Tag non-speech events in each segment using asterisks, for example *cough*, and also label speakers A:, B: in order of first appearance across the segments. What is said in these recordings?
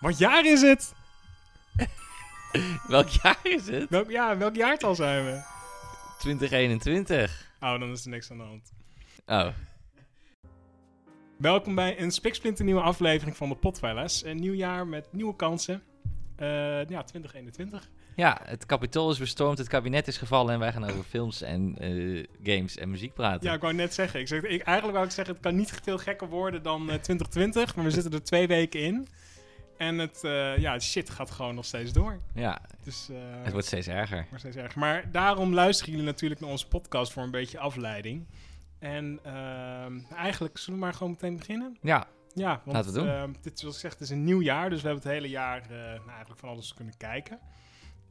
A: Wat jaar is het?
B: Welk jaar is het?
A: Welk jaar? Welk jaartal zijn we?
B: 2021.
A: Oh, dan is er niks aan de hand.
B: Oh,
A: Welkom bij een spiksplinter nieuwe aflevering van de Potfellas. Een nieuw jaar met nieuwe kansen. Eh, ja, 2021.
B: ja, het kapitool is bestormd, het kabinet is gevallen en wij gaan over films en eh, games en muziek praten.
A: Ja, ik wou net zeggen. Ik zeg, ik, eigenlijk wou ik zeggen, het kan niet veel gekker worden dan eh, 2020. Maar we zitten er twee weken in. En het eh, ja, shit gaat gewoon nog steeds door.
B: Ja,
A: Dus, eh,
B: het wordt steeds erger.
A: Maar steeds erg. Maar daarom luisteren jullie natuurlijk naar onze podcast voor een beetje afleiding. En ehm, eigenlijk zullen we maar gewoon meteen beginnen.
B: Ja,
A: Ja, want
B: Laten we het doen.
A: ehm, dit, zoals gezegd, is een nieuw jaar. Dus we hebben het hele jaar eh, nou, eigenlijk van alles kunnen kijken.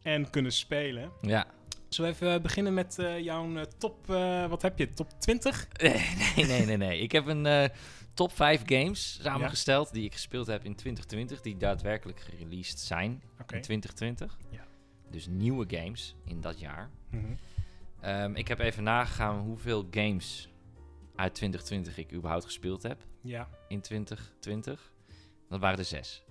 A: En kunnen spelen.
B: ja. *laughs*
A: Zullen we even eh, beginnen met eh, jouw eh, top... eh, wat heb je? Top 20?
B: Nee, nee, nee, nee. Ik heb een eh, top 5 games samengesteld die ik gespeeld heb in 2020, die daadwerkelijk gereleased zijn
A: Oké.
B: in 2020.
A: Ja.
B: Dus nieuwe games in dat jaar.
A: Mhm.
B: Ehm, ik heb even nagegaan hoeveel games uit 2020 ik überhaupt gespeeld heb.
A: Ja.
B: in 2020. Dat waren er
A: *laughs*
B: zes.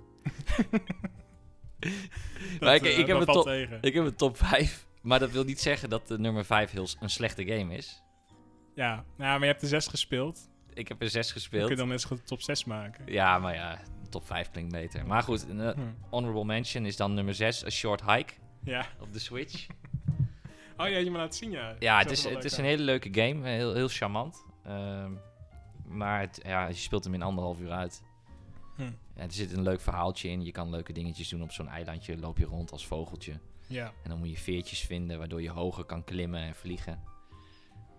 B: Maar ik-
A: eh,
B: ik heb
A: dat
B: een
A: valt
B: top-
A: tegen.
B: Ik heb een top 5. Maar dat wil niet zeggen dat de nummer 5 heel s- een slechte game is.
A: Ja. Nou, maar je hebt de 6 gespeeld.
B: Ik heb er zes
A: Dan kun je
B: gespeeld.
A: dan net zo goed de top 6 maken.
B: Ja, maar ja, top 5 klinkt beter. Maar goed, een eh,
A: Hm.
B: honorable mention is dan nummer 6, A Short Hike
A: Ja.
B: op de Switch.
A: Oh ja, je me laat zien, ja.
B: Ja,
A: Dat
B: het is,
A: wel
B: het
A: leuk
B: is een
A: uit.
B: hele leuke game. eh, Heel, heel charmant. Ehm, maar het, ja, je speelt hem in anderhalf uur uit.
A: Hm.
B: En er zit een leuk verhaaltje in. Je kan leuke dingetjes doen op zo'n eilandje. Loop je rond als vogeltje.
A: Ja.
B: En dan moet je veertjes vinden, waardoor je hoger kan klimmen en vliegen.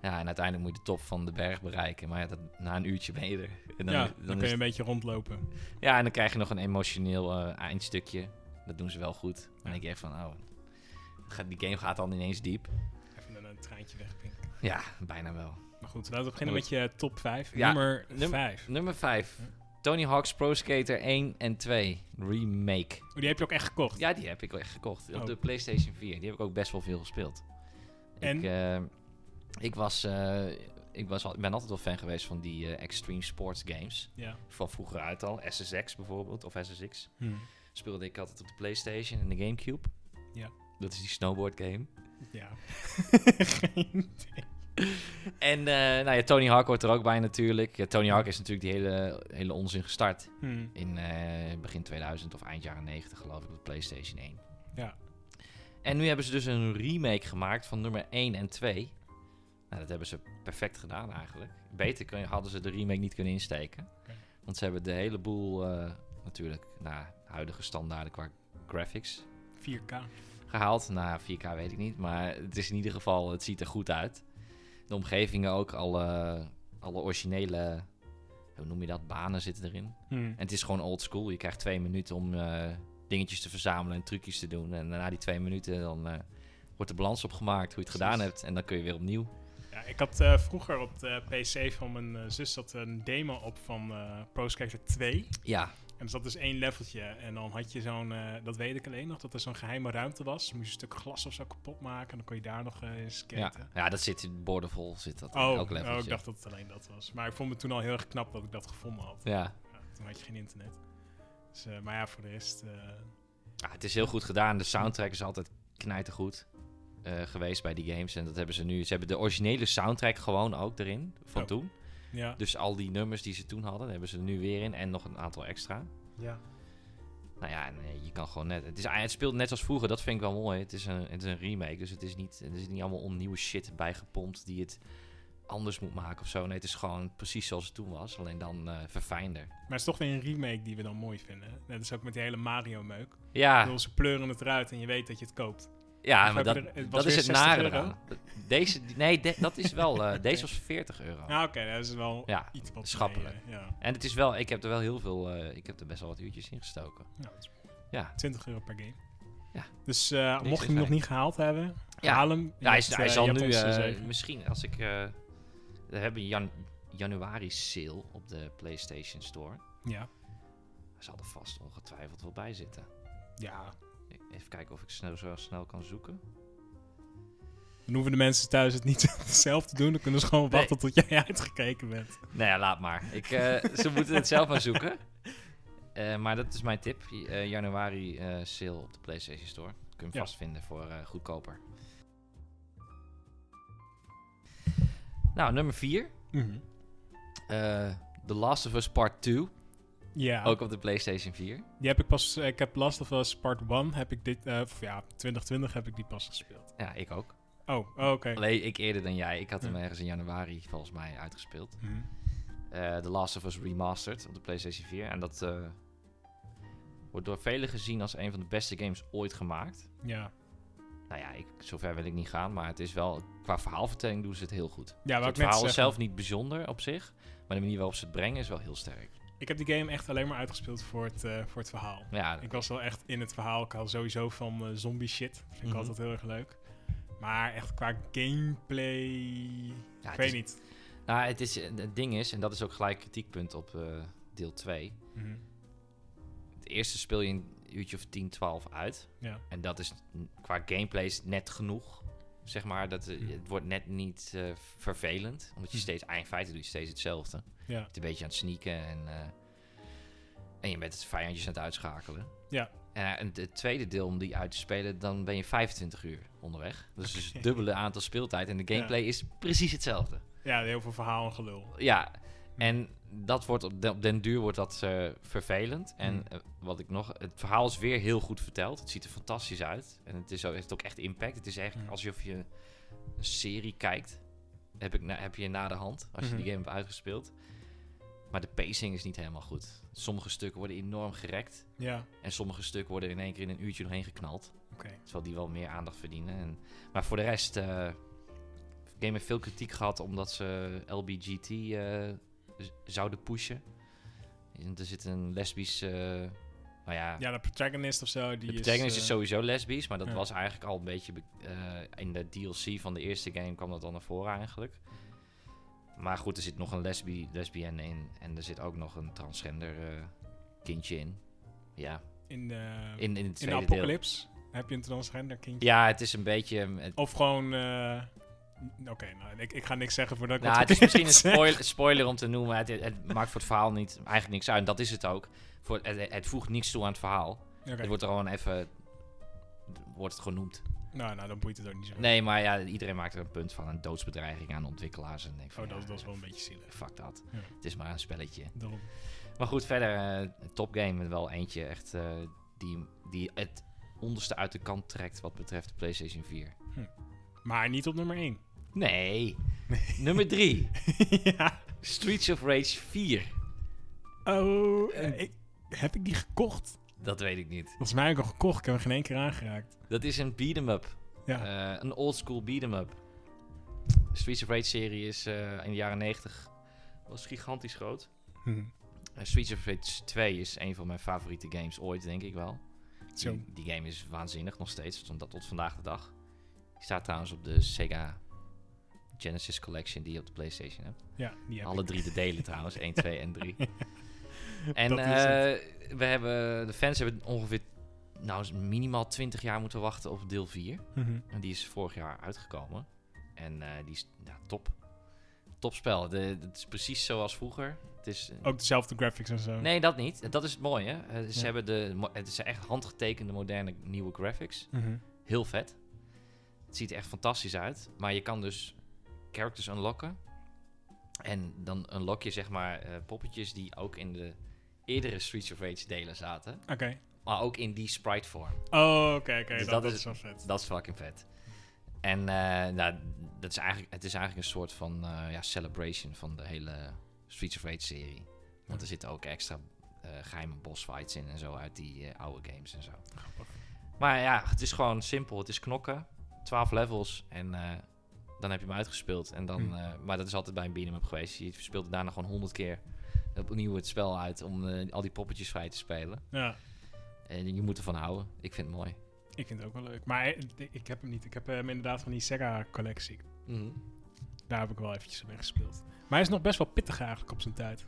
B: Ja, en uiteindelijk moet je de top van de berg bereiken. Maar ja, dat, na een uurtje ben je er. En dan,
A: ja,
B: dan
A: dan, kun
B: is
A: je een beetje rondlopen.
B: het- ja, en dan krijg je nog een emotioneel eh, eindstukje. Dat doen ze wel goed. Dan
A: Ja.
B: denk je echt van, oh, gaat- die game gaat dan ineens diep.
A: Even een, een treintje wegpinken.
B: Ja, bijna wel.
A: Maar goed, laten we beginnen met je eh, top 5.
B: Ja,
A: nummer
B: num-
A: 5.
B: Nummer 5. Tony Hawk's Pro Skater 1 en 2 Remake.
A: Oh, Die heb je ook echt gekocht.
B: Ja, die heb ik wel echt gekocht. Op
A: Oh.
B: de PlayStation 4. Die heb ik ook best wel veel gespeeld.
A: En?
B: Ik, eh, ik, was, eh, ik was, al- ben altijd wel fan geweest van die eh, extreme sports games.
A: Ja.
B: Van vroeger uit al. SSX bijvoorbeeld, of SSX.
A: Hm.
B: Speelde ik altijd op de PlayStation en de Gamecube.
A: Ja.
B: Dat is die snowboard game.
A: ja.
B: En eh, nou ja, Tony Hawk hoort er ook bij natuurlijk. Ja, Tony Hawk is natuurlijk die hele, hele onzin gestart.
A: Hmm.
B: In eh, begin 2000 of eind jaren 90 geloof ik op de PlayStation 1.
A: Ja.
B: En nu hebben ze dus een remake gemaakt van nummer 1 en 2. Nou, dat hebben ze perfect gedaan eigenlijk. Beter kun- hadden ze de remake niet kunnen insteken.
A: Oké.
B: Want ze hebben de hele boel eh, natuurlijk naar huidige standaarden qua graphics
A: 4K.
B: gehaald. Na 4K weet ik niet, maar het is in ieder geval, het ziet er goed uit. De omgevingen ook, alle, alle originele, hoe noem je dat, banen zitten erin.
A: Hmm.
B: En het is gewoon old school. Je krijgt twee minuten om eh, dingetjes te verzamelen en trucjes te doen. En na die twee minuten dan eh, wordt de balans opgemaakt hoe je het gedaan
A: Precies.
B: hebt. En dan kun je weer opnieuw.
A: Ja, ik had eh, vroeger op de PC van mijn eh, zus zat een demo op van eh Pro Skater 2.
B: Ja,
A: En er zat dus één leveltje. En dan had je zo'n, eh, dat weet ik alleen nog, dat er zo'n geheime ruimte was. Moest je een stuk glas of zo kapot maken. En dan kon je daar nog eh in
B: ja.
A: skaten.
B: ja, dat zit in boordevol. Zit dat in
A: Oh,
B: elk
A: oh, ik
B: leveltje.
A: dacht dat het alleen dat was. Maar ik vond me toen al heel erg knap dat ik dat gevonden had.
B: ja.
A: Ja, toen had je geen internet. Dus, eh, maar ja, voor de rest. eh,
B: ja, het is heel goed gedaan. De soundtrack is altijd knijtergoed eh geweest bij die games. En dat hebben ze nu. Ze hebben de originele soundtrack gewoon ook erin van
A: Oh.
B: toen.
A: ja.
B: Dus al die nummers die ze toen hadden, hebben ze er nu weer in. En nog een aantal extra.
A: ja.
B: Nou ja, en, eh, je kan gewoon net. Het, is, het speelt net als vroeger, dat vind ik wel mooi. Het is een, het is een remake, dus het is niet, er is niet allemaal onnieuwe shit bijgepompt die het anders moet maken of zo. Nee, het is gewoon precies zoals het toen was, alleen dan eh, verfijnder.
A: Maar het is toch weer een remake die we dan mooi vinden. Net is ook met die hele
B: Ah.
A: Mario-meuk. Ik
B: Ja,
A: bedoel, ze pleuren het eruit en je weet dat je het koopt.
B: ja
A: dus
B: maar
A: we
B: dat,
A: hebben er- het was
B: dat is
A: weer
B: het
A: 60
B: nare
A: euro.
B: eraan. Deze, die- nee, de- dat is wel. eh, Deze was 40 euro.
A: Nou, oké, dat is wel
B: Ja,
A: iets wat.
B: schappelijk.
A: mee, eh, ja.
B: En het is wel, ik heb er wel heel veel, eh, ik heb er best wel wat uurtjes in gestoken.
A: Ja, dat is mooi.
B: Ja.
A: 20 euro per game.
B: Ja.
A: Dus eh,
B: Niks
A: mocht je hem
B: is
A: nog niet gehaald hebben,
B: Ja.
A: haal hem.
B: Ja, Nou, hij, is,
A: Je hebt,
B: hij
A: eh,
B: zal
A: je
B: nu,
A: hebt ons, eh,
B: eh,
A: zeven.
B: misschien als ik, eh we hebben een jan, januari sale op de PlayStation Store.
A: Ja.
B: Hij zal er vast ongetwijfeld wel bij zitten.
A: ja.
B: Ik- Even kijken of ik snel, zo snel kan zoeken.
A: Dan hoeven de mensen thuis het niet *laughs* zelf te doen. Dan kunnen ze gewoon
B: Nee.
A: wachten tot jij *laughs* uitgekeken bent. *laughs*
B: Nou ja, laat maar. Ik, eh, ze moeten het zelf maar zoeken. Eh, maar dat is mijn tip. Eh, januari eh, sale op de PlayStation Store. Kun je hem
A: Ja.
B: vast vinden voor eh, goedkoper. Nou, nummer 4.
A: Mhm.
B: The Last of Us Part 2.
A: Ja,
B: Ook op de PlayStation 4.
A: die heb ik pas. Ik heb Last of Us Part 1 heb ik dit. eh, of ja, 2020 heb ik die pas gespeeld.
B: Ja, ik ook.
A: Oh, oh, oké.
B: Alleen ik eerder dan jij. Ik had hem
A: Ja.
B: ergens in januari volgens mij uitgespeeld.
A: Mhm.
B: eh The Last of Us Remastered op de PlayStation 4. En dat eh, wordt door velen gezien als een van de beste games ooit gemaakt.
A: Ja.
B: Nou ja, ik, zover wil ik niet gaan, maar het is wel... Qua verhaalvertelling doen ze het heel goed.
A: Ja,
B: Dus
A: wat ik
B: het
A: net
B: verhaal is
A: zeg.
B: zelf niet bijzonder op zich, maar de manier waarop ze het brengen is wel heel sterk.
A: Ik heb die game echt alleen maar uitgespeeld voor het, eh, voor het verhaal.
B: Ja,
A: Ik was wel echt in het verhaal. Ik hou sowieso van eh, zombie shit. Vind ik
B: Mhm.
A: altijd heel erg leuk. Maar echt qua gameplay.
B: ja,
A: ik
B: het,
A: weet
B: is,
A: niet.
B: nou, het, is, het ding is, en dat is ook gelijk kritiekpunt op eh, deel 2.
A: Mhm.
B: Het eerste speel je een uurtje of 10, 12 uit.
A: Ja.
B: En dat is n- qua gameplay is net genoeg. Zeg maar, dat, eh,
A: Hm.
B: het wordt net niet eh, vervelend. Omdat je
A: Hm.
B: steeds, in feite doe je steeds hetzelfde. Je
A: Ja.
B: bent een beetje aan het sneaken en, eh, en je bent vijandjes aan het uitschakelen.
A: Ja.
B: Eh, en het tweede deel om die uit te spelen, dan ben je 25 uur onderweg. Dus het is het dubbele aantal speeltijd en de
A: Ja.
B: gameplay is precies hetzelfde.
A: ja, heel veel verhaal en gelul.
B: Ja,
A: Hm.
B: en dat wordt op, de- op den duur wordt dat eh, vervelend. En
A: Hm.
B: eh, wat ik nog, het verhaal is weer heel goed verteld. Het ziet er fantastisch uit. En het is, ook- heeft ook echt impact. Het is echt
A: Hm.
B: alsof je een serie kijkt. Heb, ik na- heb je na de hand, als je
A: Mhm.
B: die game hebt uitgespeeld. Maar de pacing is niet helemaal goed. Sommige stukken worden enorm gerekt.
A: Ja,
B: En sommige stukken worden in één keer in een uurtje doorheen geknald.
A: oké.
B: Terwijl die Dus wel meer aandacht verdienen. En, maar voor de rest, eh de game heeft veel kritiek gehad omdat ze LBGT eh, z- zouden pushen. En er zit een lesbische, eh, nou ja,
A: Ja, de protagonist of zo. Die
B: de protagonist is,
A: eh,
B: sowieso lesbisch, maar dat
A: ja.
B: was eigenlijk al een beetje be- eh, in de DLC van de eerste game kwam dat dan naar voren eigenlijk. Maar goed, er zit nog een lesbi lesbienne in en er zit ook nog een transgender eh, kindje in. Ja,
A: In de, in,
B: in, in het
A: de
B: tweede deel.
A: apocalypse heb je een transgender kindje.
B: Ja, het is een beetje... eh, het-
A: Of gewoon... eh, n- Oké, nou, ik, ik ga niks zeggen voordat ik
B: Nou,
A: wat
B: het is misschien een
A: verkeerds *laughs* zeg.
B: spoil- spoiler om te noemen. Het, het maakt voor het verhaal niet, eigenlijk niks uit. En dat is het ook. Voor, het, het voegt niks toe aan het verhaal.
A: Oké,
B: Het wordt er gewoon even. Wordt het genoemd.
A: Nou, nou, dan boeit het ook niet zo.
B: Nee, maar ja, iedereen maakt er een punt van. Een doodsbedreiging aan ontwikkelaars. En denk van,
A: Oh, dat,
B: ja,
A: dat is wel een beetje zielig.
B: Fuck dat.
A: Ja.
B: Het is maar een spelletje.
A: Daarom.
B: Maar goed, verder. eh top game. Wel eentje echt. eh, die, die het onderste uit de kant trekt wat betreft de PlayStation 4.
A: Maar niet op nummer 1.
B: Nee. Nummer 3.
A: *laughs* ja.
B: Streets of Rage 4.
A: Oh, eh, ik- heb ik die gekocht?
B: Dat weet ik niet.
A: Volgens mij heb ik al gekocht. Ik heb hem geen één keer aangeraakt.
B: Dat is een beat 'em up.
A: Ja.
B: Eh, een oldschool beat'em up. De Streets of Rage serie is eh, in de jaren 90 was gigantisch groot.
A: Hm.
B: Eh, Streets of Rage 2 is een van mijn favoriete games ooit, denk ik wel.
A: Zo.
B: Die, die game is waanzinnig nog steeds, tot, tot vandaag de dag. Die staat trouwens op de Sega Genesis Collection die je op de PlayStation hebt.
A: Ja, die heb
B: Alle
A: ik.
B: drie de delen trouwens, 1, 2 en 3.
A: *laughs*
B: En
A: Dat is
B: eh, we hebben, de fans hebben ongeveer nou, minimaal 20 jaar moeten wachten op deel 4.
A: Mhm.
B: En die is vorig jaar uitgekomen. En eh, die is ja, top. Topspel. De, het is precies zoals vroeger. Het is, eh,
A: Ook dezelfde graphics en zo.
B: Nee, dat niet. Dat is het mooie. Eh, ze
A: Oh, Ja.
B: hebben de, mo- het is echt handgetekende, moderne, nieuwe graphics.
A: Mhm.
B: Heel vet. Het ziet er echt fantastisch uit. Maar je kan dus characters unlocken. En dan unlock je zeg maar eh, poppetjes die ook in de eerdere Streets of Rage delen zaten.
A: Oké.
B: Maar ook in die sprite vorm.
A: Oh, oké, oké.
B: Dus
A: dat,
B: dat
A: dat
B: is-
A: is wel vet.
B: Dat is fucking vet. En eh, nou, dat is eigenlijk, het is eigenlijk een soort van eh, ja, celebration van de hele Streets of Rage serie. Want er zitten ook extra eh, geheime boss fights in en zo uit die eh, oude games en zo.
A: Grappig.
B: Maar ja, het is gewoon simpel. Het is knokken, 12 levels en eh, dan heb je hem uitgespeeld. En dan,
A: Hmm.
B: eh, maar dat is altijd bij een beat'em up geweest. Je speelt daarna gewoon 100 keer opnieuw het spel uit om eh, al die poppetjes vrij te spelen.
A: Ja,
B: En je moet ervan houden. Ik vind het mooi.
A: ik vind het ook wel leuk. Maar eh, ik heb hem niet. Ik heb eh, hem inderdaad van die Sega-collectie. Mhm. Daar heb ik wel eventjes mee gespeeld. Maar hij is nog best wel pittig eigenlijk op zijn tijd.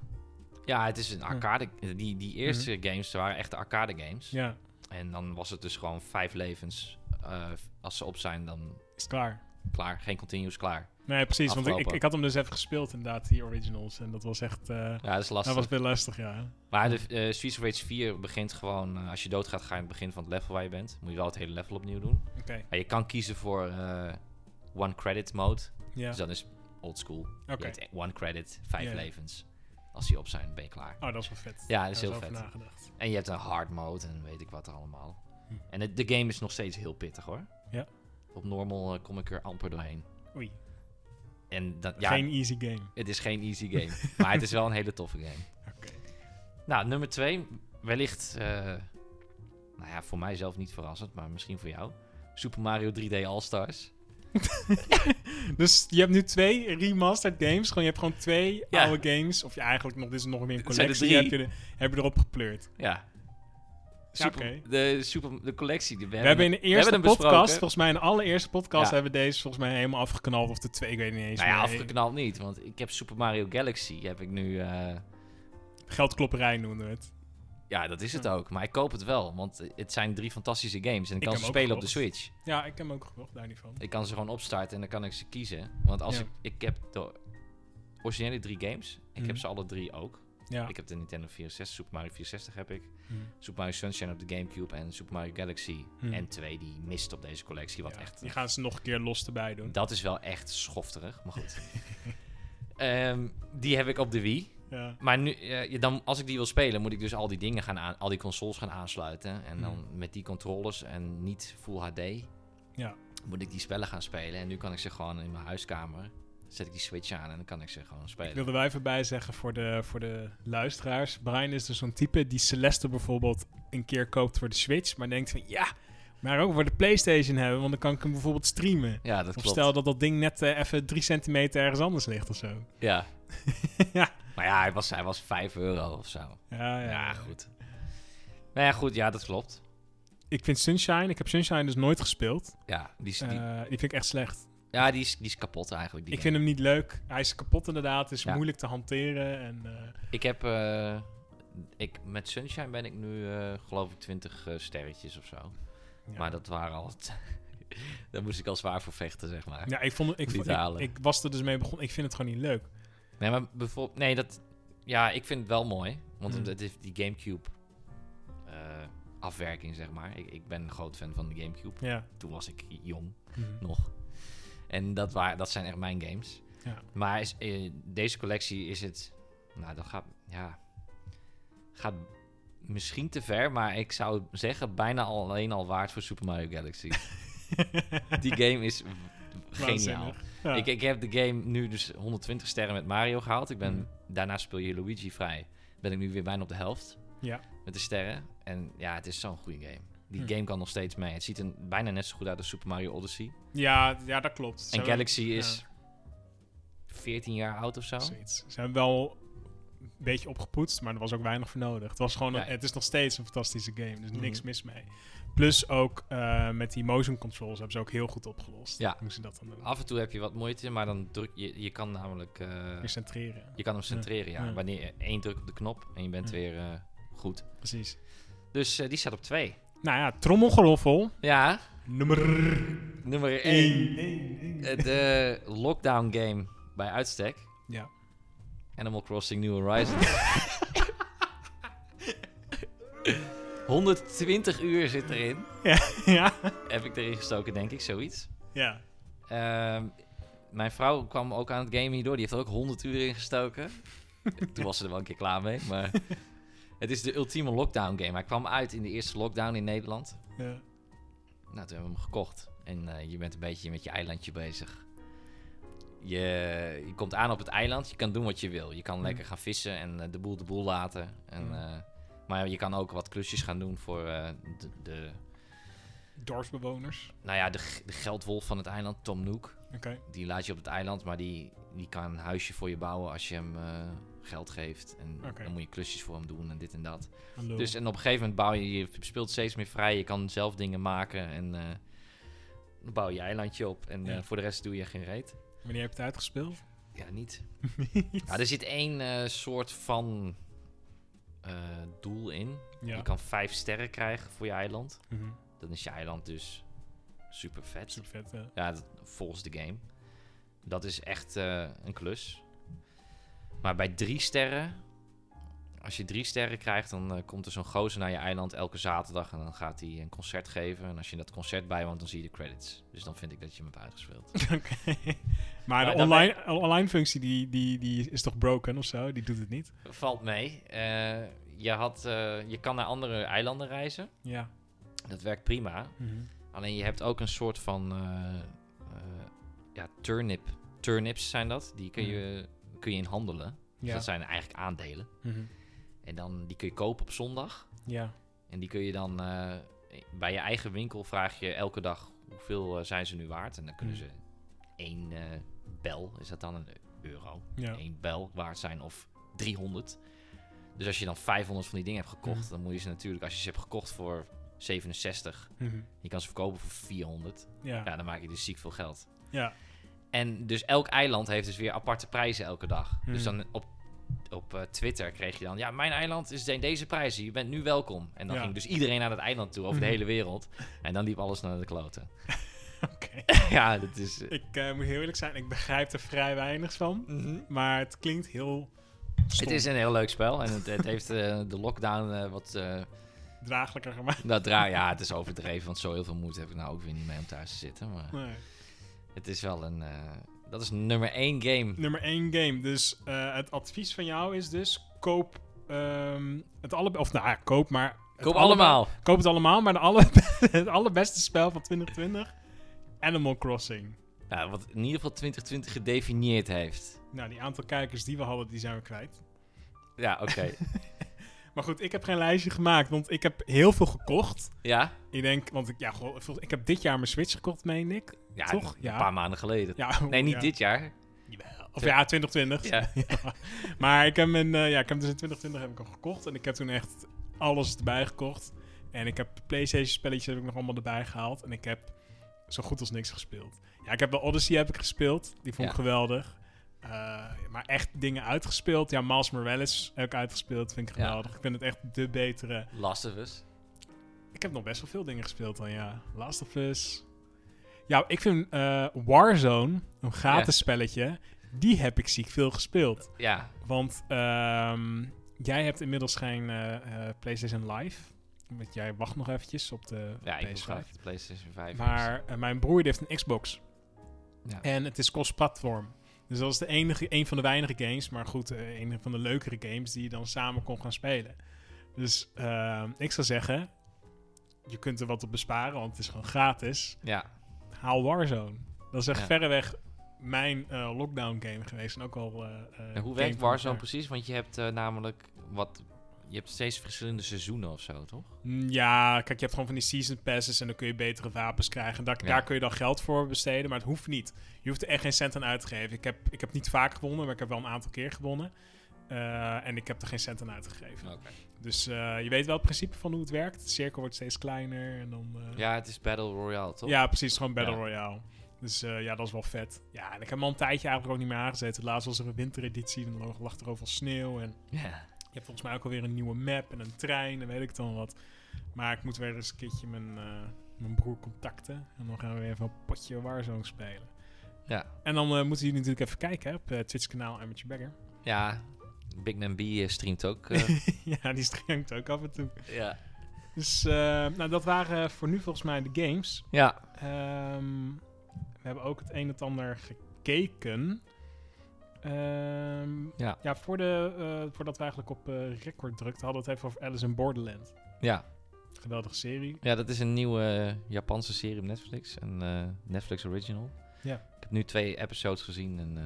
B: Ja, het is een arcade. Die, die eerste games waren echt de arcade games.
A: Mhm. Ja,
B: En dan was het dus gewoon vijf levens. Eh, als ze op zijn, dan
A: is het klaar.
B: Klaar, geen continues, klaar.
A: Nee, precies. Want ik-
B: Afgelopen.
A: ik, ik had hem dus even gespeeld inderdaad, die originals. En dat was echt... eh,
B: Ja, dat is
A: dat
B: lastig.
A: was weer lastig, ja.
B: Maar de eh Streets of Rage 4 begint gewoon, eh, als je doodgaat, ga je aan het begin van het level waar je bent. Moet je wel het hele level opnieuw doen.
A: Oké,
B: Maar je kan kiezen voor eh, one credit mode.
A: ja.
B: Dus dan is old school. Je
A: Oké.
B: hebt one credit, vijf
A: Ja.
B: levens. Als die op zijn, ben je klaar.
A: Oh, dat is wel vet.
B: Ja, dat is
A: Daar
B: heel
A: over
B: vet.
A: nagedacht.
B: En je hebt een hard mode en weet ik wat allemaal.
A: Hm.
B: En het- de game is nog steeds heel pittig hoor.
A: Ja.
B: Op normal eh, kom ik er amper doorheen.
A: Oei,
B: En dat, ja,
A: geen easy game.
B: het is geen
A: *laughs*
B: easy game. maar het is wel een hele toffe game.
A: Oké.
B: Nou, nummer twee. Wellicht, eh, nou ja, voor mij zelf niet verrassend, maar misschien voor jou. Super Mario 3D All-Stars.
A: Dus je hebt nu twee remastered games. Gewoon, je hebt gewoon twee
B: Ja.
A: oude games. Of ja, eigenlijk nog, dit is nog meer een
B: Het zijn er
A: collectie. Heb je, er- heb je erop gepleurd.
B: Ja. Super,
A: oké.
B: de, super, de collectie. die We,
A: We hebben in de eerste
B: hem
A: podcast,
B: besproken.
A: volgens mij in de allereerste podcast,
B: Ja.
A: hebben we deze volgens mij helemaal afgeknald. Of de twee, ik weet niet eens
B: Nou ja,
A: meer.
B: afgeknald niet, want ik heb Super Mario Galaxy. Heb ik nu. eh,
A: Geldklopperij noemen we het.
B: ja, dat is het
A: Ja.
B: ook. Maar ik koop het wel, want het zijn drie fantastische games. En ik,
A: Hm. Ik
B: kan
A: heb
B: ze
A: hem ook
B: spelen op de
A: gekocht.
B: Switch.
A: Ja, ik heb hem ook gekocht, daar niet van.
B: Ik kan ze gewoon opstarten en dan kan ik ze kiezen. Want als
A: Ja.
B: ik. Ik heb de originele drie games. Ik
A: Mhm.
B: heb ze alle drie ook.
A: Ja.
B: Ik heb de Nintendo 64, Super Mario 64 heb ik.
A: Hm.
B: Super Mario Sunshine op de Gamecube en Super Mario Galaxy.
A: Hmm.
B: En twee die mist op deze collectie. Wat
A: Ja,
B: echt.
A: Die gaan ze nog een keer los erbij doen.
B: Dat is wel echt schofterig, maar
A: *laughs*
B: goed. Ehm, die heb ik op de Wii.
A: Ja.
B: Maar nu, eh, je- dan, als ik die wil spelen, moet ik dus al die dingen gaan aan, al die consoles gaan aansluiten. En dan met die controllers en niet Full HD.
A: Mm. Ja.
B: Moet ik die spellen gaan spelen. En nu kan ik ze gewoon in mijn huiskamer. Zet ik die Switch aan en dan kan ik ze gewoon spelen.
A: Wilden wij even bijzeggen voor de, voor de luisteraars. Brian is dus zo'n type die Celeste bijvoorbeeld een keer koopt voor de Switch. Maar denkt van ja, maar ook voor de Playstation hebben. Want dan kan ik hem bijvoorbeeld streamen.
B: Ja, dat
A: Of
B: klopt.
A: stel dat dat ding net eh, even drie centimeter ergens anders ligt of zo.
B: Ja.
A: *laughs* Ja.
B: Maar ja, hij was, hij was 5 euro of zo.
A: Ja, ja.
B: Ja, goed. Nou ja, goed, ja, dat klopt.
A: Ik vind Sunshine, ik heb Sunshine dus nooit gespeeld.
B: Ja, die is, die,
A: Eh, die vind ik echt slecht.
B: ja, die is, die is kapot eigenlijk. Die
A: ik
B: game.
A: vind hem niet leuk. Hij is kapot inderdaad. Het is
B: Ja.
A: moeilijk te hanteren. En, eh,
B: ik heb... eh, ik, met Sunshine ben ik nu, eh, geloof ik, 20 eh, sterretjes of zo.
A: ja.
B: Maar dat waren al... *laughs* Daar moest ik al zwaar voor vechten, zeg maar.
A: Ja, ik, vond, ik,
B: eh, Niet
A: vond,
B: te halen.
A: ik, ik was er dus mee begonnen. Ik vind het gewoon niet leuk.
B: Nee, maar bijvoorbeeld... Nee, dat... Ja, ik vind het wel mooi. Want
A: Mm.
B: het heeft die Gamecube... eh, afwerking, zeg maar. Ik, ik ben een groot fan van de Gamecube.
A: Ja.
B: Toen was ik jong.
A: Mhm.
B: nog. En dat, waar, dat zijn echt mijn games.
A: Ja.
B: Maar is, eh, deze collectie is het. Nou, dat gaat. Ja. Gaat misschien te ver, maar ik zou zeggen bijna alleen al waard voor Super Mario
A: *laughs*
B: Galaxy. Die game is w- geniaal.
A: Waanzinnig. Ja.
B: Ik, ik heb de game nu dus 120 sterren met Mario gehaald. Ik ben,
A: Mhm.
B: Daarna speel je Luigi vrij. Ben ik nu weer bijna op de helft.
A: Ja.
B: Met de sterren. En ja, het is zo'n goede game. Die
A: Hm.
B: game kan nog steeds mee. Het ziet er bijna net zo goed uit als Super Mario Odyssey.
A: Ja, ja, dat klopt. Ze
B: En
A: hebben-
B: Galaxy is 14 jaar oud of zo.
A: Zoiets. Ze hebben wel een beetje opgepoetst, maar er was ook weinig voor nodig. Het, was gewoon een-
B: Ja.
A: het is nog steeds een fantastische game, dus niks
B: Mhm.
A: mis mee. Plus ook eh, met die motion controls hebben ze ook heel goed opgelost.
B: Ja.
A: Hoe ze dat dan eh, doen.
B: Af en toe heb je wat moeite, maar dan druk je. Je kan namelijk. eh,
A: Weer centreren.
B: je kan hem centreren, ja.
A: Ja.
B: Wanneer je één druk op de knop en je bent
A: Ja.
B: weer eh, goed.
A: Precies.
B: Dus eh, die staat op 2.
A: Nou ja, trommelgeroffel.
B: Ja,
A: Nummer
B: nummer 1.
A: 1.
B: Eh, De lockdown game bij uitstek:
A: Ja. *laughs*
B: Animal Crossing New Horizons. 120 uur zit erin.
A: ja.
B: Heb ik erin gestoken, denk ik, zoiets.
A: Ja.
B: Ehm, mijn vrouw kwam ook aan het gamen hierdoor. Die heeft er ook 100 uur in gestoken. Toen was ze er wel een keer klaar mee. Maar het is de ultieme lockdown game. Hij kwam uit in de eerste lockdown in Nederland.
A: Ja.
B: Nou, toen hebben we hem gekocht. En eh, je bent een beetje met je eilandje bezig. Je, je komt aan op het eiland. Je kan doen wat je wil. Je kan
A: Mhm.
B: lekker gaan vissen en eh, de boel de boel laten. En,
A: Mhm.
B: eh, maar je kan ook wat klusjes gaan doen voor eh, de, de,
A: Dorpsbewoners.
B: nou ja, de, g- de geldwolf van het eiland, Tom Nook.
A: Oké.
B: Die laat je op het eiland, maar die, die kan een huisje voor je bouwen als je hem eh, geld geeft. En
A: Oké.
B: dan moet je klusjes voor hem doen en dit en dat.
A: Hallo.
B: Dus en op een gegeven moment bouw je, je speelt steeds meer vrij. Je kan zelf dingen maken en eh, dan bouw je je eilandje op. En eh,
A: Ja.
B: voor de rest doe je geen reet.
A: Wanneer heb je het uitgespeeld?
B: Ja,
A: *laughs*
B: niet. Nou, er zit één eh, soort van eh, doel in.
A: Ja.
B: Je kan vijf sterren krijgen voor je eiland.
A: Mhm.
B: Dan is je eiland dus super vet.
A: Super vet, ja.
B: Ja, dat- volgens de game. Dat is echt eh, een klus. Maar bij drie sterren, als je drie sterren krijgt, dan eh, komt er zo'n gozer naar je eiland elke zaterdag en dan gaat hij een concert geven. En als je dat concert bijwoont, dan zie je de credits. Dus dan vind ik dat je hem hebt uitgespeeld.
A: *laughs* Maar
B: Nou,
A: de
B: dan
A: online, online functie die, die, die is toch broken of zo? Die doet het niet.
B: *laughs* Valt mee. Eh, je, had, eh, je kan naar andere eilanden reizen.
A: Ja.
B: Dat werkt prima.
A: Mhm.
B: Alleen je hebt ook een soort van eh, eh, ja, turnip. Turnips zijn dat. Die kun je, kun je in handelen. Dus
A: Ja.
B: dat zijn eigenlijk aandelen.
A: Mhm.
B: En dan, die kun je kopen op zondag.
A: ja.
B: En die kun je dan eh, bij je eigen winkel vraag je elke dag hoeveel eh, zijn ze nu waard. En dan kunnen
A: Mm.
B: ze één eh, bel, is dat dan een euro?
A: Ja.
B: één bel waard zijn of 300. Dus als je dan 500 van die dingen hebt gekocht,
A: Mhm.
B: dan moet je ze natuurlijk, als je ze hebt gekocht voor 67,
A: Mhm.
B: je kan ze verkopen voor 400.
A: Ja.
B: Ja, dan maak je dus ziek veel geld.
A: Ja.
B: En dus elk eiland heeft dus weer aparte prijzen elke dag.
A: Hmm.
B: Dus dan op, op eh, Twitter kreeg je dan... Ja, mijn eiland is in deze prijzen. Je bent nu welkom. En dan
A: Ja.
B: ging dus iedereen naar dat eiland toe over de
A: Mhm.
B: hele wereld. En dan liep alles naar de kloten.
A: Oké.
B: *laughs* ja, dat is... eh,
A: *laughs* Ik eh, moet heel eerlijk zijn, ik begrijp er vrij weinig van. Maar het klinkt heel stom,
B: Hm. Het is een heel leuk spel. En het, het heeft eh, de lockdown eh, wat... eh
A: draaglijker gemaakt.
B: dat dra- ja, het is overdreven. Want zo heel veel moeite heb ik nou ook weer niet mee om thuis te zitten. Maar
A: Nee.
B: het is wel een... eh, dat is nummer één game.
A: Nummer 1 game. Dus eh, het advies van jou is dus koop ehm, het allebei... Of nou ja, koop maar... het
B: Koop
A: allebei-
B: allemaal.
A: Koop het allemaal, maar de alle, *laughs* het allerbeste spel van 2020... Animal Crossing.
B: Ja, wat in ieder geval 2020 gedefinieerd heeft.
A: Nou, die aantal kijkers die we hadden, die zijn we kwijt.
B: Ja, oké. *laughs*
A: Maar goed, ik heb geen lijstje gemaakt, want ik heb heel veel gekocht.
B: ja?
A: Ik denk, want ik, ja, goh, ik heb dit jaar mijn Switch gekocht, meen ik.
B: Ja,
A: Toch?
B: Een
A: Ja.
B: paar maanden geleden.
A: Ja,
B: Nee, niet
A: ja.
B: dit jaar.
A: Jawel. Of ja, 2020. *laughs*
B: Ja.
A: Maar ik heb, hem in, eh, ja, ik heb hem dus in 2020 heb ik hem gekocht. En ik heb toen echt alles erbij gekocht. En ik heb PlayStation spelletjes heb ik nog allemaal erbij gehaald. En ik heb zo goed als niks gespeeld. Ja, ik heb de Odyssey heb ik gespeeld. Die vond ik
B: Ja.
A: geweldig. Eh, maar echt dingen uitgespeeld. Ja, Miles Morales heb ik uitgespeeld. Vind ik
B: Ja.
A: geweldig. Ik vind het echt de betere.
B: Last of Us.
A: Ik heb nog best wel veel dingen gespeeld dan, ja. Last of Us. Ja, ik vind eh, Warzone, een gratis
B: Ja.
A: spelletje, die heb ik ziek veel gespeeld.
B: Ja.
A: Want ehm, jij hebt inmiddels geen eh, eh, PlayStation Live. Want jij wacht nog eventjes op de
B: Ja, ik wil
A: PS5.
B: graag de PlayStation 5.
A: Maar eh, mijn broer die heeft een Xbox.
B: Ja.
A: En het is cross-platform. Dus dat is de enige, een van de weinige games, maar goed, eh, een van de leukere games die je dan samen kon gaan spelen. Dus ehm, ik zou zeggen, je kunt er wat op besparen, want het is gewoon gratis.
B: Ja.
A: Haal Warzone. Dat is echt
B: Ja.
A: verreweg mijn eh, lockdown game geweest. En ook al. eh, eh,
B: En
A: game
B: hoe werkt
A: van
B: Warzone
A: elkaar.
B: precies? Want je hebt eh, namelijk wat... Je hebt steeds verschillende seizoenen of zo, toch?
A: Mm, Ja, kijk, je hebt gewoon van die season passes en dan kun je betere wapens krijgen. Daar,
B: Ja.
A: daar kun je dan geld voor besteden, maar het hoeft niet. Je hoeft er echt geen cent aan uit te geven. Ik heb, ik heb niet vaak gewonnen, maar ik heb wel een aantal keer gewonnen. Eh, en ik heb er geen cent aan uitgegeven. Dus eh, je weet wel het principe van hoe het werkt. De cirkel wordt steeds kleiner. En dan, eh,
B: Ja, het is Battle Royale, toch?
A: ja, precies. Gewoon Battle
B: Ja.
A: Royale. Dus eh, ja, dat is wel vet. Ja, en ik heb hem al een tijdje eigenlijk ook niet meer aangezeten. Laatst was er een wintereditie en dan lag er overal sneeuw. En
B: Ja.
A: je hebt volgens mij ook alweer een nieuwe map en een trein en weet ik dan wat. Maar ik moet weer eens een keertje mijn, eh, mijn broer contacten. En dan gaan we weer even een potje Warzone spelen.
B: Ja.
A: En dan eh, moeten jullie natuurlijk even kijken hè, op eh, Twitch kanaal Amateur Bagger. *laughs*
B: Ja. Big Man B eh, streamt ook. eh,
A: ja, die streamt ook af en toe.
B: ja.
A: Dus eh, nou, dat waren voor nu volgens mij de games.
B: Ja.
A: Ehm, we hebben ook het een en het ander gekeken. Ehm,
B: Ja.
A: ja voor de, eh, voordat we eigenlijk op eh, record drukten, hadden we het even over Alice in Borderland.
B: Ja.
A: Geweldige serie.
B: Ja, dat is een nieuwe eh, Japanse serie op Netflix. Een eh, Netflix original.
A: Ja.
B: Ik heb nu twee episodes gezien en eh,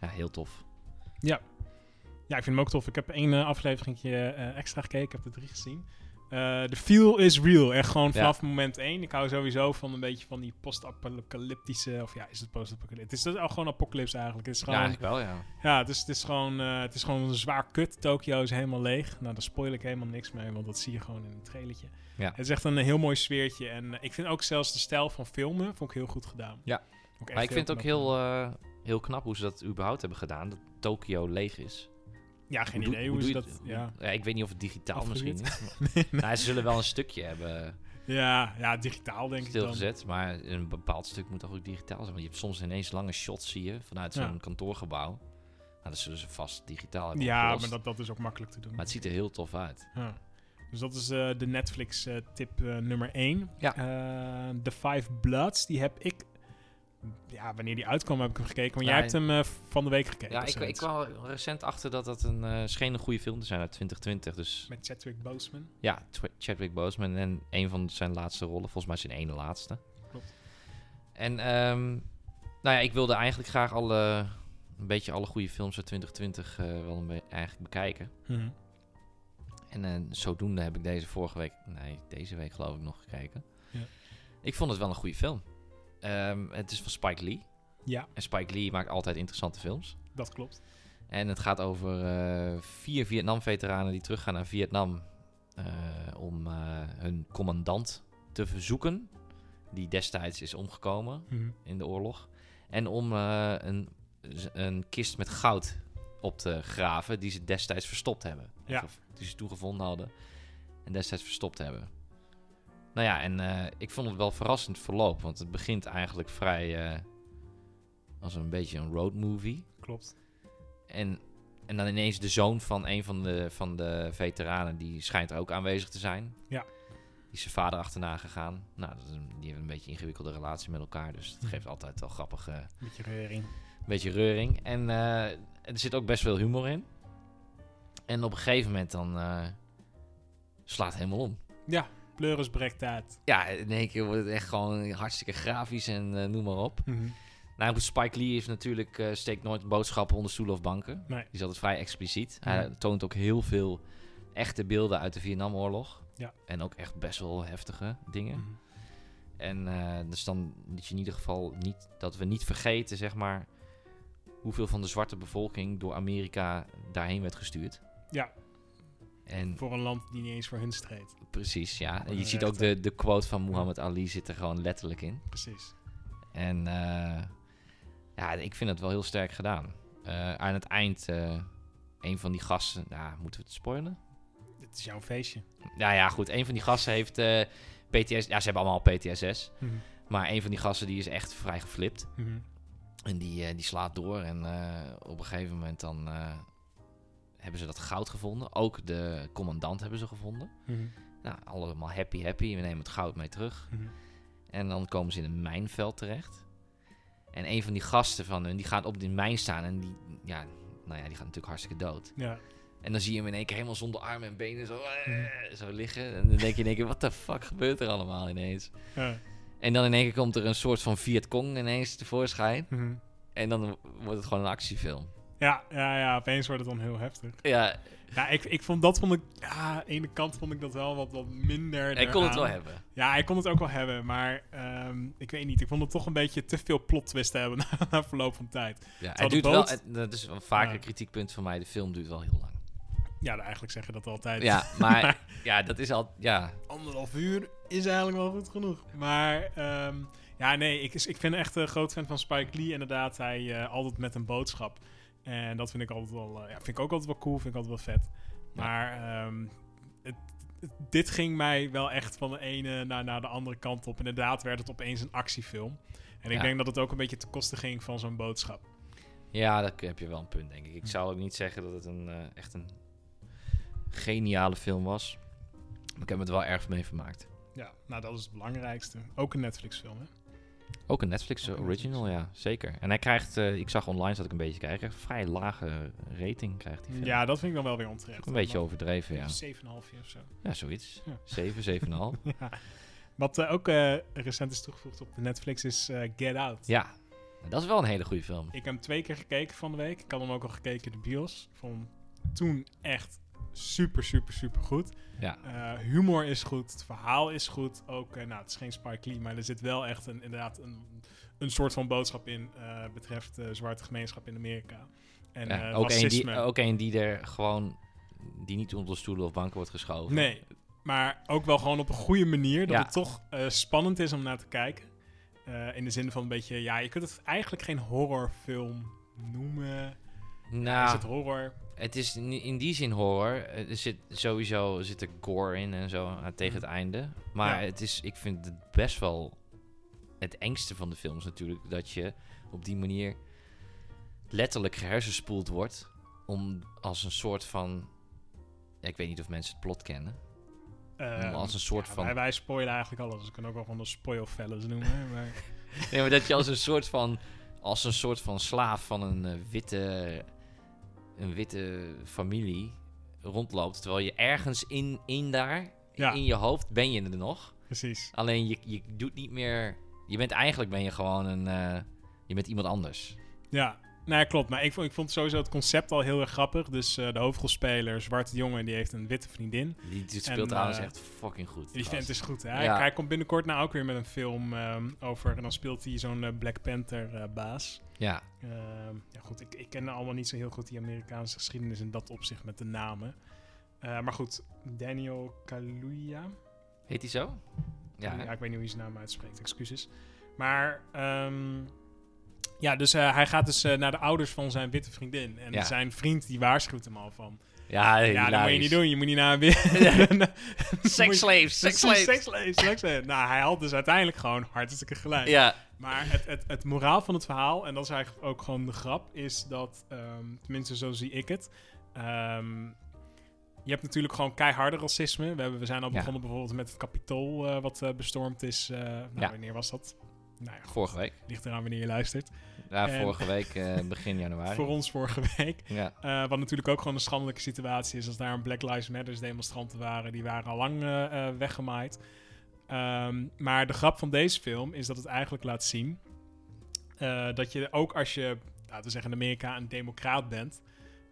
B: ja, heel tof.
A: Ja, ik vind hem ook tof. Ik heb één eh, afleveringje eh, extra gekeken. Ik heb er drie gezien. Eh, De feel is real. Echt gewoon vanaf moment één. Ik hou sowieso van een beetje van die post-apocalyptische... Of ja, is het post-apocalyptisch? Het is dus al gewoon apocalypse eigenlijk. Het is
B: Ja,
A: gewoon, ja,
B: eigenlijk wel, ja.
A: het, is, het, is gewoon, eh, het is gewoon een zwaar kut. Tokio is helemaal leeg. Nou, daar spoil ik helemaal niks mee, want dat zie je gewoon in het trailertje.
B: Ja.
A: Het is echt een heel mooi sfeertje. En eh, ik vind ook zelfs de stijl van filmen vond ik heel goed gedaan.
B: Ja.
A: Vond ik echt
B: Maar ik vind het ook
A: knap.
B: heel, eh, heel knap hoe ze dat überhaupt hebben gedaan. Dat Tokio leeg is.
A: Ja, geen
B: doe-
A: idee hoe,
B: doe
A: ze
B: je
A: dat...
B: het?
A: Ja.
B: Ja, ik weet niet of het digitaal
A: *laughs* Afgehuurd?
B: misschien is. maar- Nou, ze zullen wel een stukje hebben
A: Ja, ja, digitaal denk ik dan.
B: stilgezet. Maar een bepaald stuk moet toch ook digitaal zijn. Want je hebt soms ineens lange shots, zie je, vanuit zo'n
A: Ja.
B: kantoorgebouw. Nou, dat zullen ze vast digitaal hebben
A: Ja, maar
B: opgelost.
A: dat, dat is ook makkelijk te doen.
B: Maar het ziet er heel tof uit.
A: Ja. Dus dat is eh, de Netflix-tip nummer 1.
B: Ja.
A: The Five Bloods, die heb ik... Ja, wanneer die uitkwam heb ik hem gekeken. Maar
B: Ja,
A: jij
B: en-
A: hebt hem eh, van de week gekeken.
B: Ja,
A: of
B: ik, ik
A: zoiets.
B: kwam er recent achter dat dat een, eh scheen een goede film te zijn uit 2020. Dus
A: Met Chadwick Boseman.
B: ja, Tw- Chadwick Boseman en een van zijn laatste rollen. Volgens mij zijn ene laatste.
A: Klopt.
B: En ehm, nou ja, ik wilde eigenlijk graag alle, een beetje alle goede films uit 2020 eh, wel een be- eigenlijk bekijken.
A: Mhm.
B: En eh, zodoende heb ik deze vorige week, nee, deze week geloof ik nog gekeken.
A: Ja.
B: Ik vond het wel een goede film. Ehm, het is van Spike Lee.
A: Ja,
B: En Spike Lee maakt altijd interessante films.
A: dat klopt.
B: En het gaat over eh, vier Vietnam-veteranen die teruggaan naar Vietnam eh, om eh, hun commandant te verzoeken, die destijds is omgekomen
A: Mhm.
B: in de oorlog. En om eh, een, een kist met goud op te graven die ze destijds verstopt hebben.
A: Ja.
B: Of Die ze toen gevonden hadden en destijds verstopt hebben. Nou ja, en eh, ik vond het wel verrassend verloop, want het begint eigenlijk vrij eh, als een beetje een roadmovie.
A: Klopt.
B: En, en dan ineens de zoon van een van de, van de veteranen, die schijnt er ook aanwezig te zijn.
A: Ja.
B: Die is zijn vader achterna gegaan. Nou, dat is een- die hebben een beetje een ingewikkelde relatie met elkaar. Dus dat geeft altijd wel grappig, eh, een
A: Beetje reuring.
B: beetje reuring. En eh, er zit ook best veel humor in. En op een gegeven moment dan eh, slaat het helemaal om.
A: Pleuris Brektaat.
B: Ja, in één keer wordt het echt gewoon hartstikke grafisch en eh, noem maar op.
A: Mhm.
B: Nou, goed, Spike Lee heeft natuurlijk, eh, steekt nooit boodschappen onder stoelen of banken.
A: Nee.
B: Die is altijd vrij expliciet.
A: Ja.
B: Hij toont ook heel veel echte beelden uit de Vietnamoorlog.
A: Ja. Mm.
B: En ook echt best wel heftige dingen.
A: Mhm.
B: En eh, dus dan dat je in ieder geval niet, dat we niet vergeten, zeg maar, hoeveel van de zwarte bevolking door Amerika daarheen werd gestuurd.
A: Ja.
B: En
A: Voor een land die niet eens voor hun streed.
B: precies, ja. En
A: Een
B: je ziet ook
A: rechter.
B: de, de quote van Muhammad Ali zit er gewoon letterlijk in.
A: Precies.
B: En eh, ja, ik vind het wel heel sterk gedaan. Eh, aan het eind, eh, een van die gasten, nou, moeten we het spoilen?
A: Dit is jouw feestje.
B: Nou ja, goed, een van die gasten heeft eh, PTS, ja, ze hebben allemaal PTSS.
A: Mhm.
B: Maar een van die gasten die is echt vrij geflipt. En die, eh, die slaat door en eh, op een gegeven moment dan eh, hebben ze dat goud gevonden. Ook de commandant hebben ze gevonden.
A: Mhm.
B: Nou, allemaal happy, happy. We nemen het goud mee terug. En dan komen ze in een mijnveld terecht. En een van die gasten van hun, die gaat op die mijn staan. En die, ja, nou ja, die gaat natuurlijk hartstikke dood.
A: Ja.
B: En dan zie je hem in één keer helemaal zonder armen en benen zo,
A: Mhm.
B: eh, zo liggen. En dan denk je in één keer, wat de fuck gebeurt er allemaal ineens?
A: Ja.
B: En dan in één keer komt er een soort van Viet Cong ineens tevoorschijn.
A: Mhm.
B: En dan wordt het gewoon een actiefilm.
A: ja, ja, ja. Opeens wordt het dan heel heftig.
B: Ja,
A: Ja, ik, ik vond dat vond ik. Ja, aan de ene kant vond ik dat wel wat, wat minder.
B: ik kon het wel
A: eraan.
B: hebben.
A: Ja, ik kon het ook wel hebben, maar ehm, ik weet niet. Ik vond het toch een beetje te veel plot twist hebben *laughs* na, na verloop van tijd.
B: Ja,
A: de
B: het duurt wel,
A: boot-
B: het- dat is wel vaker
A: Ja.
B: een kritiekpunt van mij. De film duurt wel heel lang.
A: Ja, nou, eigenlijk zeggen dat altijd.
B: Ja,
A: *laughs*
B: maar ja, dat is al, ja,
A: Anderhalf uur is eigenlijk wel goed genoeg. Maar ehm, ja, nee, ik, is- ik ben echt een groot fan van Spike Lee. Inderdaad, hij eh, altijd met een boodschap. En dat vind ik altijd wel. eh, ja, vind ik ook altijd wel cool. Vind ik altijd wel vet.
B: Ja.
A: Maar ehm, het, het- dit ging mij wel echt van de ene naar, naar de andere kant op. Inderdaad, werd het opeens een actiefilm. En ik
B: Ja.
A: denk dat het ook een beetje te koste ging van zo'n boodschap.
B: Ja, daar heb je wel een punt, denk ik. Ik zou ook niet zeggen dat het een, eh, echt een geniale film was. Maar ik heb me er wel erg mee vermaakt.
A: Ja, nou dat is het belangrijkste. Ook een Netflix-film, hè?
B: Ook een Netflix
A: Ook een
B: original, ja, zeker. En hij krijgt, eh, ik zag online dat ik een beetje krijg, een vrij lage rating krijgt hij.
A: Ja, dat vind ik dan wel weer onterecht.
B: Een beetje
A: Maar-
B: overdreven, ja.
A: 7,5 jaar of zo.
B: Ja, zoiets.
A: Ja.
B: 7,
A: *laughs*
B: 7,5.
A: Ja. Wat eh, ook eh, recent is toegevoegd op de Netflix is eh, Get Out.
B: ja, dat is wel een hele goede film.
A: Ik heb hem twee keer gekeken van de week. Ik had hem ook al gekeken in de bios. Ik vond hem toen echt super, super, super goed.
B: Ja.
A: Eh, humor is goed, het verhaal is goed. Ook, eh, nou, het is geen Spike Lee, maar er zit wel echt een, inderdaad een, een soort van boodschap in... eh, betreft de zwarte gemeenschap in Amerika. En
B: Ja,
A: eh,
B: ook, een
A: racisme.
B: die, ook een die er gewoon, die niet onder stoelen of banken wordt geschoven.
A: Nee, maar ook wel gewoon op een goede manier. Dat
B: Ja.
A: het toch eh, spannend is om naar te kijken. Eh, in de zin van een beetje, ja, je kunt het eigenlijk geen horrorfilm noemen.
B: Nou,
A: Is het horror?
B: Het is ni- in die zin horror. Eh, Er zit sowieso zit er gore in en zo eh, tegen het einde. Maar
A: Ja.
B: het is, ik vind het best wel het engste van de films natuurlijk. Dat je op die manier letterlijk gehersenspoeld wordt. Om als een soort van... ja, ik weet niet of mensen het plot kennen. *laughs*
A: Ehm,
B: als een soort
A: ja,
B: van-
A: Wij, wij spoilen eigenlijk alles. Dus ik kan ook wel gewoon de spoilfellas
B: *laughs*
A: noemen. Maar
B: Nee, maar dat je als een soort van, als een soort van slaaf van een eh, witte, een witte familie rondloopt. Terwijl je ergens in, in daar,
A: Ja.
B: in je hoofd, ben je er nog.
A: precies.
B: Alleen je, je doet niet meer. Je bent eigenlijk ben je gewoon een. eh, je bent iemand anders.
A: Ja, nou ja, klopt. Maar ik vond, ik vond sowieso het concept al heel erg grappig. Dus eh, de hoofdrolspeler, zwarte jongen, die heeft een witte vriendin.
B: Die, die
A: En,
B: speelt trouwens
A: eh,
B: echt fucking goed.
A: Die vent
B: gast.
A: is goed. Hè? Hij-
B: Ja.
A: Hij komt binnenkort nou ook weer met een film ehm, over. En dan speelt hij zo'n eh, Black Panther eh, baas.
B: Ja,
A: Ehm, ja, goed. Ik, ik ken allemaal niet zo heel goed die Amerikaanse geschiedenis in dat opzicht met de namen. Eh, maar goed, Daniel Kaluuya.
B: heet die zo? Ja,
A: Ja,
B: hè?
A: ik weet niet hoe je zijn naam uitspreekt, excuses. Maar ehm, ja, dus eh, hij gaat dus eh, naar de ouders van zijn witte vriendin. En
B: Ja.
A: zijn vriend die waarschuwt hem al van... ja,
B: ja,
A: dat moet je
B: hilarisch.
A: niet
B: *laughs*
A: doen. Je moet niet naar een witte... *laughs*
B: Sex slaves, sex slaves.
A: Seksleven, seksleven. Nou, hij had dus uiteindelijk gewoon hartstikke gelijk.
B: Ja,
A: Maar het, het, het moraal van het verhaal, en dat is eigenlijk ook gewoon de grap, is dat, ehm, tenminste zo zie ik het. ehm, je hebt natuurlijk gewoon keiharde racisme. We, hebben, we zijn al
B: Ja.
A: begonnen bijvoorbeeld met het kapitool eh, wat eh, bestormd is. eh, nou,
B: Ja.
A: wanneer was dat? Nou ja,
B: vorige week.
A: ligt eraan wanneer je luistert.
B: Ja,
A: En-
B: vorige week, eh, begin januari.
A: Voor ons vorige week.
B: Ja,
A: Eh, wat natuurlijk ook gewoon een schandelijke situatie is. Als daar een Black Lives Matters demonstranten waren, die waren al lang eh, eh, weggemaaid. Ehm, maar de grap van deze film is dat het eigenlijk laat zien eh, dat je ook als je, laten we zeggen in Amerika, een democraat bent,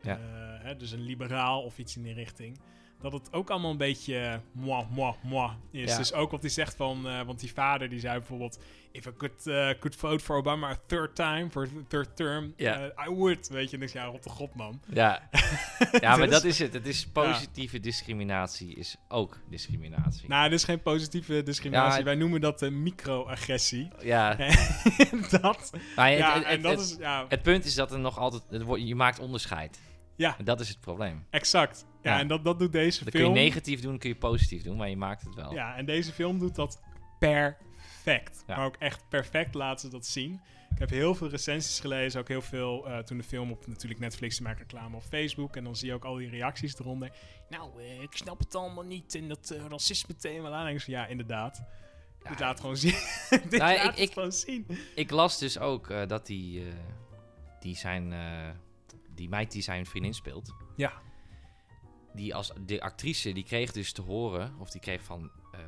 B: Ja.
A: eh, hè, dus een liberaal of iets in die richting, dat het ook allemaal een beetje moi, moi, moi is.
B: Ja.
A: Dus ook wat hij zegt van, eh, want die vader die zei bijvoorbeeld, if I could, eh, could vote for Obama a third time, for a third term,
B: Ja.
A: eh, I would. Weet je, en ik zei, ja, rot de god man.
B: ja.
A: *laughs*
B: Ja, maar
A: Dus-
B: dat is het. Het is positieve discriminatie is ook discriminatie.
A: Nou, dit is geen positieve discriminatie.
B: Ja,
A: Wij noemen dat de
B: *laughs*
A: microagressie.
B: ja,
A: dat.
B: maar het,
A: ja,
B: het,
A: en
B: het,
A: dat
B: het-
A: is. Ja,
B: het punt is dat er nog altijd... het wordt- je maakt onderscheid.
A: Ja.
B: En Dat is het probleem.
A: exact. Ja,
B: Ja.
A: en dat, dat doet deze
B: Dat kun je
A: film.
B: negatief doen, kun je positief doen, maar je maakt het wel.
A: Ja, en deze film doet dat perfect.
B: Ja.
A: Maar ook echt perfect laten ze dat zien. Ik heb heel veel recensies gelezen, ook heel veel eh, toen de film op natuurlijk Netflix, die maakt reclame op Facebook. En dan zie je ook al die reacties eronder. Nou, eh, ik snap het allemaal niet en dat eh, racisme thema. En dan denk ik zo, ja, inderdaad.
B: Ja,
A: Dit laat gewoon zien. *laughs* Dit
B: Nou,
A: laat
B: ik-
A: het
B: ik-
A: gewoon zien.
B: Ik las dus ook eh, dat die, eh, die zijn... eh, die meid die zijn vriendin speelt.
A: Ja.
B: Die als de actrice, die kreeg dus te horen... Of die kreeg van eh,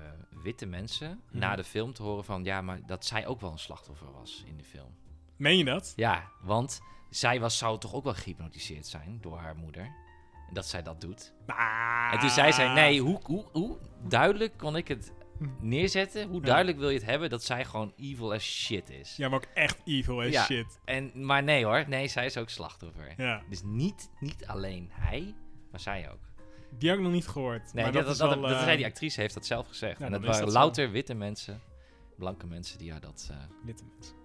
B: witte mensen
A: Mhm.
B: na de film te horen van... Ja, maar dat zij ook wel een slachtoffer was in de film.
A: Meen je dat?
B: Ja, want zij was, zou toch ook wel gehypnotiseerd zijn door haar moeder. En Dat zij dat doet.
A: Maar...
B: En toen zei
A: Ah.
B: zij, nee, hoe, hoe, hoe duidelijk kon ik het neerzetten? Hoe
A: Ja.
B: duidelijk wil je het hebben dat zij gewoon evil as shit is?
A: Ja, maar ook echt evil as
B: Ja.
A: shit.
B: En, maar nee hoor, nee, zij is ook slachtoffer.
A: Ja.
B: Dus niet, niet alleen hij, maar zij ook.
A: Die heb ik nog niet gehoord.
B: Nee,
A: maar
B: dat,
A: dat,
B: dat,
A: is wel...
B: dat
A: eh,
B: zei die actrice, heeft dat zelf gezegd.
A: Ja,
B: en
A: dan
B: dat
A: is
B: waren
A: dat zo.
B: louter witte mensen, blanke mensen die haar dat... eh,
A: witte *laughs* mensen.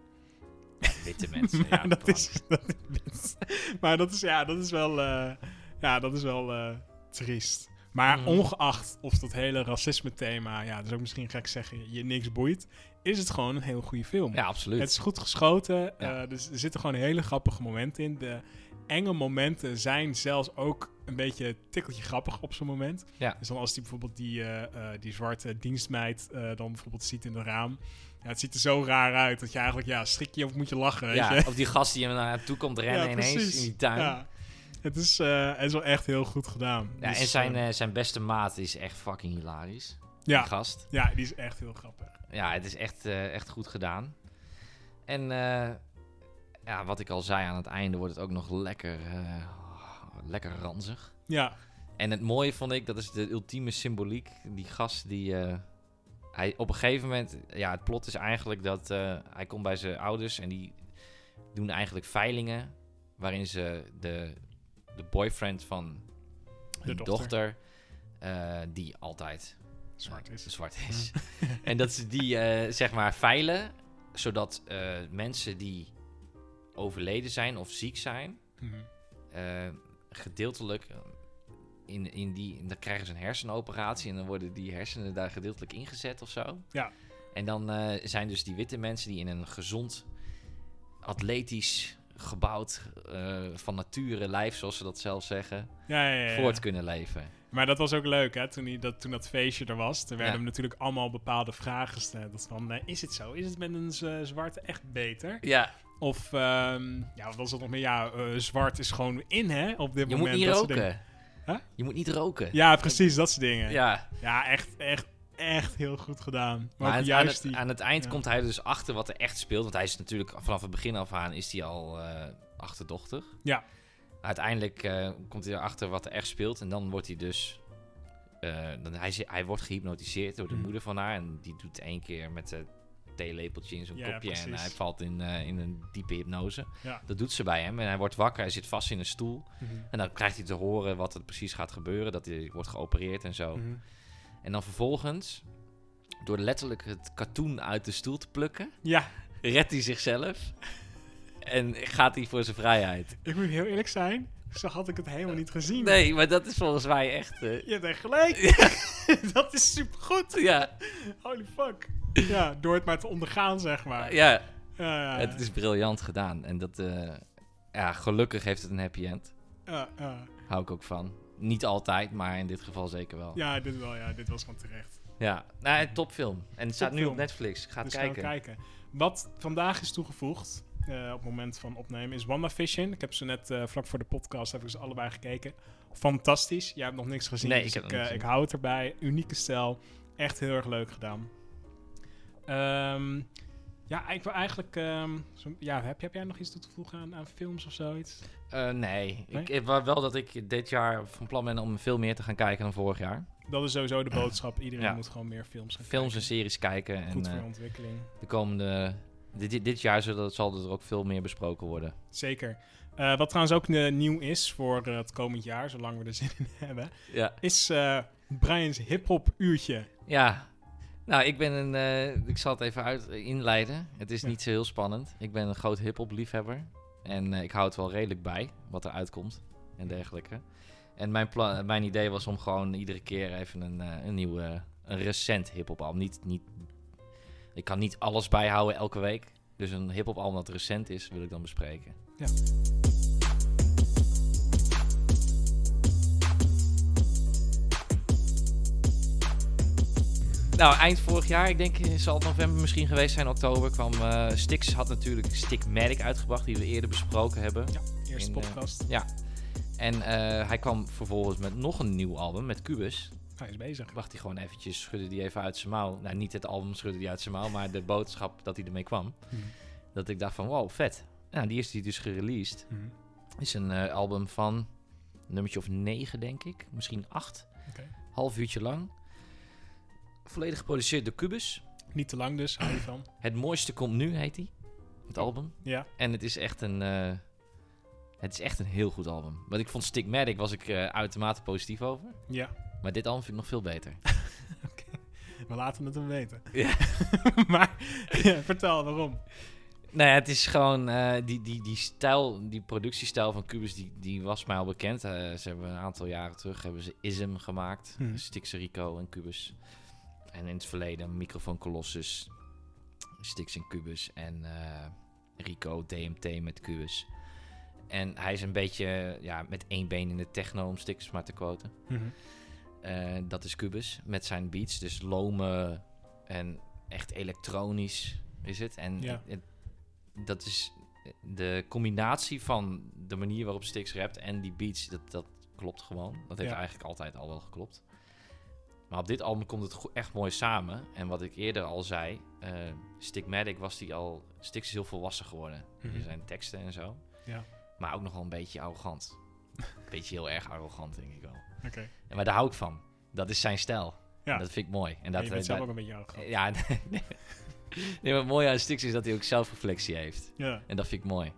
A: *laughs*
B: witte mensen, Dus, ja.
A: maar, dat
B: blank.
A: is, dat is- *laughs* maar dat is... Ja, dat is wel... eh, ja, dat is wel eh, triest. Maar
B: Mhm.
A: ongeacht of dat hele racisme thema... Ja, dat is ook misschien gek zeggen, je niks boeit... Is het gewoon een heel goede film.
B: Ja, absoluut.
A: Het is goed geschoten.
B: Ja.
A: eh, dus er zitten gewoon hele grappige momenten in. De enge momenten zijn zelfs ook een beetje een tikkeltje grappig op zo'n moment.
B: Ja.
A: Dus dan als die bijvoorbeeld die, eh, eh, die zwarte dienstmeid eh, dan bijvoorbeeld ziet in het raam. Ja, het ziet er zo raar uit dat je eigenlijk, ja, schrik je of moet je lachen, weet
B: Ja,
A: je?
B: of die gast die hem naar haar toe komt rennen
A: *laughs* Ja,
B: ineens
A: precies.
B: in die tuin. Ja.
A: Ja. Het is, eh, het is wel echt heel goed gedaan. Dus,
B: en zijn,
A: eh,
B: eh, zijn beste maat is echt fucking hilarisch. Die
A: ja,
B: gast.
A: ja, die is echt heel grappig.
B: Ja, het is echt, eh, echt goed gedaan. En eh, ja, wat ik al zei, aan het einde wordt het ook nog lekker, eh, lekker ranzig.
A: Ja,
B: En het mooie vond ik, dat is de ultieme symboliek. Die gast die... eh, hij, op een gegeven moment... Ja, het plot is eigenlijk dat eh, hij komt bij zijn ouders en die doen eigenlijk veilingen. Waarin ze de, de boyfriend van hun
A: dochter.
B: dochter, eh, die altijd
A: zwart is.
B: zwart is. *laughs* en dat ze die eh, zeg maar veilen, zodat eh, mensen die overleden zijn of ziek zijn,
A: Mhm.
B: eh, gedeeltelijk eh, in, in die. Dan krijgen ze een hersenoperatie en dan worden die hersenen daar gedeeltelijk ingezet of zo.
A: Ja.
B: En dan eh, zijn dus die witte mensen die in een gezond, atletisch gebouwd, eh, van nature lijf, zoals ze dat zelf zeggen,
A: Ja, ja, ja, ja.
B: voort kunnen leven.
A: Maar dat was ook leuk, hè? Toen, die, dat, toen dat feestje er was, er werden
B: Ja.
A: hem natuurlijk allemaal bepaalde vragen gesteld. Dat Van, eh, is het zo? Is het met een z- zwarte echt beter?
B: Ja,
A: Of, ehm, ja, wat was dat nog meer? Ja, eh, zwart is gewoon in, hè? Op dit
B: je
A: moment.
B: moet niet
A: dat soort dingen.
B: roken.
A: Huh?
B: Je moet niet roken.
A: Ja, precies, dat soort dingen. Ja,
B: Ja,
A: echt, echt, echt heel goed gedaan. Maar,
B: maar
A: ook
B: aan het, aan,
A: juist
B: het,
A: die...
B: aan het eind
A: ja.
B: komt hij er dus achter wat er echt speelt. Want hij is natuurlijk vanaf het begin af aan is hij al eh, achterdochtig.
A: Ja.
B: Uiteindelijk eh, komt hij erachter wat er echt speelt. En dan wordt hij dus. eh, dan, hij, zi- hij wordt gehypnotiseerd door de
A: Mhm.
B: moeder van haar. En die doet één keer met het theelepeltje in zijn
A: Ja,
B: kopje. En
A: precies.
B: hij valt in, eh, in een diepe hypnose.
A: Ja.
B: Dat doet ze bij hem. En hij wordt wakker. Hij zit vast in een stoel.
A: Mhm,
B: En dan krijgt hij te horen wat er precies gaat gebeuren. Dat hij wordt geopereerd en zo.
A: mhm.
B: En dan vervolgens, door letterlijk het katoen uit de stoel te plukken,
A: Ja,
B: redt hij zichzelf. En gaat hij voor zijn vrijheid.
A: ik moet heel eerlijk zijn. Zo had ik het helemaal niet gezien.
B: Nee, maar dat is volgens mij echt. eh,
A: Je hebt echt gelijk. *laughs* dat is supergoed.
B: ja,
A: Holy fuck. Ja, door het maar te ondergaan, zeg maar.
B: ja,
A: Ja, ja, ja.
B: het is briljant gedaan. En dat, eh, ja, gelukkig heeft het een happy end.
A: Ja, ja.
B: Hou ik ook van. Niet altijd, maar in dit geval zeker wel. Ja,
A: Ja, dit wel. Ja, dit was gewoon terecht.
B: Nou, topfilm. En het staat nu op
A: Topfilm.
B: Netflix. Ga het
A: Dus gaan we
B: kijken.
A: kijken. Wat vandaag is toegevoegd eh, op het moment van opnemen is WandaVision. Ik heb ze net eh, vlak voor de podcast heb ik ze allebei gekeken. Fantastisch. Jij hebt nog niks gezien.
B: Nee,
A: dus
B: ik heb
A: ik,
B: nog
A: eh,
B: niks
A: ik
B: gezien.
A: hou het erbij. Unieke stijl. Echt heel erg leuk gedaan. Ehm, ja, ik wil eigenlijk. ehm, zo- ja, heb, heb jij nog iets toe te voegen aan, aan films of zoiets?
B: Eh, nee,
A: Nee?
B: Ik, eh, wa- wel dat ik dit jaar van plan ben om veel meer te gaan kijken dan vorig jaar.
A: Dat is sowieso
B: *clears throat*
A: de boodschap. Iedereen
B: Ja.
A: moet gewoon meer films gaan
B: films en
A: kijken.
B: series kijken. En
A: Goed voor
B: eh,
A: je ontwikkeling.
B: de komende. Dit, dit- dit jaar zal, zal er ook veel meer besproken worden.
A: Zeker. Eh, wat trouwens ook eh, nieuw is voor eh, het komend jaar, zolang we er zin in *laughs* hebben,
B: Ja.
A: is eh, Brian's hip-hop uurtje.
B: ja. Nou, ik ben een. eh, ik zal het even uit, inleiden. Het is
A: Ja.
B: niet zo heel spannend. Ik ben een groot hip-hop liefhebber. En eh, ik hou het wel redelijk bij wat er uitkomt en dergelijke. En mijn, pla- mijn idee was om gewoon iedere keer even een, eh, een nieuw, eh, een recent hip-hop album. Niet, niet, ik kan niet alles bijhouden elke week. Dus een hip-hop album dat recent is, wil ik dan bespreken. Nou, eind vorig jaar, ik denk eh, zal het november misschien geweest zijn, oktober, kwam eh Stix had natuurlijk Stickmatic uitgebracht, die we eerder besproken hebben.
A: Ja, eerste
B: In, eh,
A: podcast.
B: En eh, hij kwam vervolgens met nog een nieuw album, met Cubus.
A: Hij is bezig.
B: Wacht hij gewoon eventjes, schudde die even uit zijn mouw. Nou, niet het album schudde die uit zijn mouw, maar de boodschap dat hij ermee kwam.
A: Mhm.
B: Dat ik dacht van, wow, vet. Nou, die is hij dus gereleased.
A: Mhm.
B: Is een eh, album van een nummertje of negen, denk ik. Misschien acht.
A: Oké.
B: Half uurtje lang. Volledig geproduceerd door Cubus.
A: Niet te lang dus, hou je van.
B: Het mooiste komt nu, heet hij. Het album.
A: Ja,
B: En het is echt een. eh, het is echt een heel goed album. Want ik vond Stigmatic was ik eh, uitermate positief over.
A: ja.
B: Maar dit album vind ik nog veel beter.
A: We laten het hem weten.
B: Ja.
A: *laughs* maar ja, vertel waarom.
B: nou ja, het is gewoon. eh, die, die, die stijl, die productiestijl van Cubus, die, die was mij al bekend. Eh, ze hebben een aantal jaren terug hebben ze Ism gemaakt.
A: Hmm.
B: Stix Rico en Cubus. En in het verleden Microfoon Colossus, Stix en Cubus en eh, Rico DMT met Cubus. En hij is een beetje ja, met één been in de techno, om Stix maar te quoten.
A: Mhm.
B: Eh, dat is Cubus met zijn beats. Dus lome en echt elektronisch is het. En
A: Ja.
B: het- het- dat is de combinatie van de manier waarop Stix rapt en die beats, dat, dat klopt gewoon. Dat heeft
A: Ja.
B: eigenlijk altijd al wel geklopt. Maar op dit album komt het go- echt mooi samen. En wat ik eerder al zei, eh Stigmatic was die al... Stix is heel volwassen geworden
A: Mhm.
B: in zijn teksten en zo.
A: Ja.
B: Maar ook nog wel een beetje arrogant. *laughs* Een beetje heel erg arrogant, denk ik wel.
A: Oké.
B: Ja, maar daar hou ik van. Dat is zijn stijl.
A: Ja.
B: En Dat vind ik mooi. En
A: Maar
B: dat,
A: Je bent
B: eh,
A: zelf
B: dat-
A: ook een beetje arrogant.
B: ja, *laughs* nee, nee. nee, maar het mooie aan Stix is dat hij ook zelfreflectie heeft.
A: Ja.
B: En dat vind ik mooi.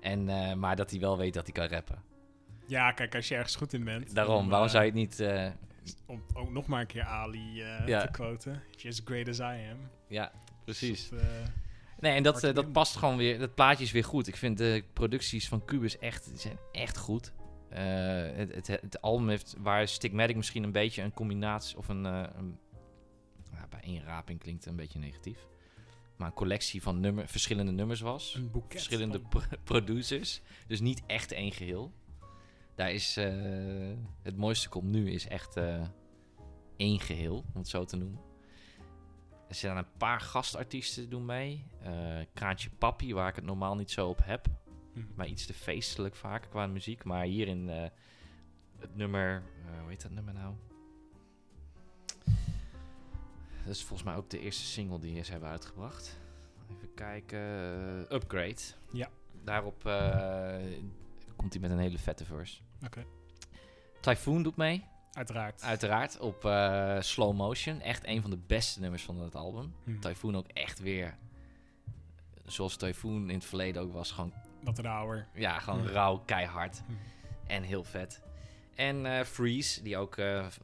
B: En, eh, maar dat hij wel weet dat hij kan rappen.
A: ja, kijk, als je ergens goed in bent.
B: Daarom,
A: om,
B: waarom
A: eh,
B: zou je het niet... eh,
A: Om ook nog maar een keer Ali eh,
B: Ja.
A: te quoten. If you're as great as I am.
B: ja, precies.
A: Dus dat, eh,
B: Nee, en dat,
A: Hard
B: eh, dat
A: win.
B: past gewoon weer. Dat plaatje is weer goed. Ik vind de producties van Cubus echt, die zijn echt goed. Eh, eh, het, het, het album heeft, waar Stigmatic misschien een beetje een combinatie of een, eh, een- nou, bij inraping klinkt een beetje negatief, maar een collectie van nummer, verschillende nummers was.
A: Een boeket.
B: verschillende
A: van-
B: pro- producers, dus niet echt één geheel. Daar is eh, het mooiste komt nu is echt eh, één geheel, om het zo te noemen. Er zijn een paar gastartiesten doen mee. Eh, Kraantje Papi, waar ik het normaal niet zo op heb
A: Hm.
B: maar iets te feestelijk vaak qua muziek. Maar hierin eh, het nummer, eh, hoe heet dat nummer nou? Dat is volgens mij ook de eerste single die ze hebben uitgebracht. Even kijken, eh, Upgrade.
A: Ja.
B: Daarop eh, komt hij met een hele vette verse.
A: Oké.
B: Typhoon doet mee,
A: Uiteraard.
B: uiteraard, op eh, Slow Motion. Echt een van de beste nummers van het album.
A: Hm.
B: Typhoon ook echt weer, zoals Typhoon in het verleden ook was, gewoon
A: Wat rauwer.
B: ja, gewoon
A: Hmm.
B: rauw, keihard.
A: Hmm.
B: En heel vet. En eh, Freeze, die ook eh, v-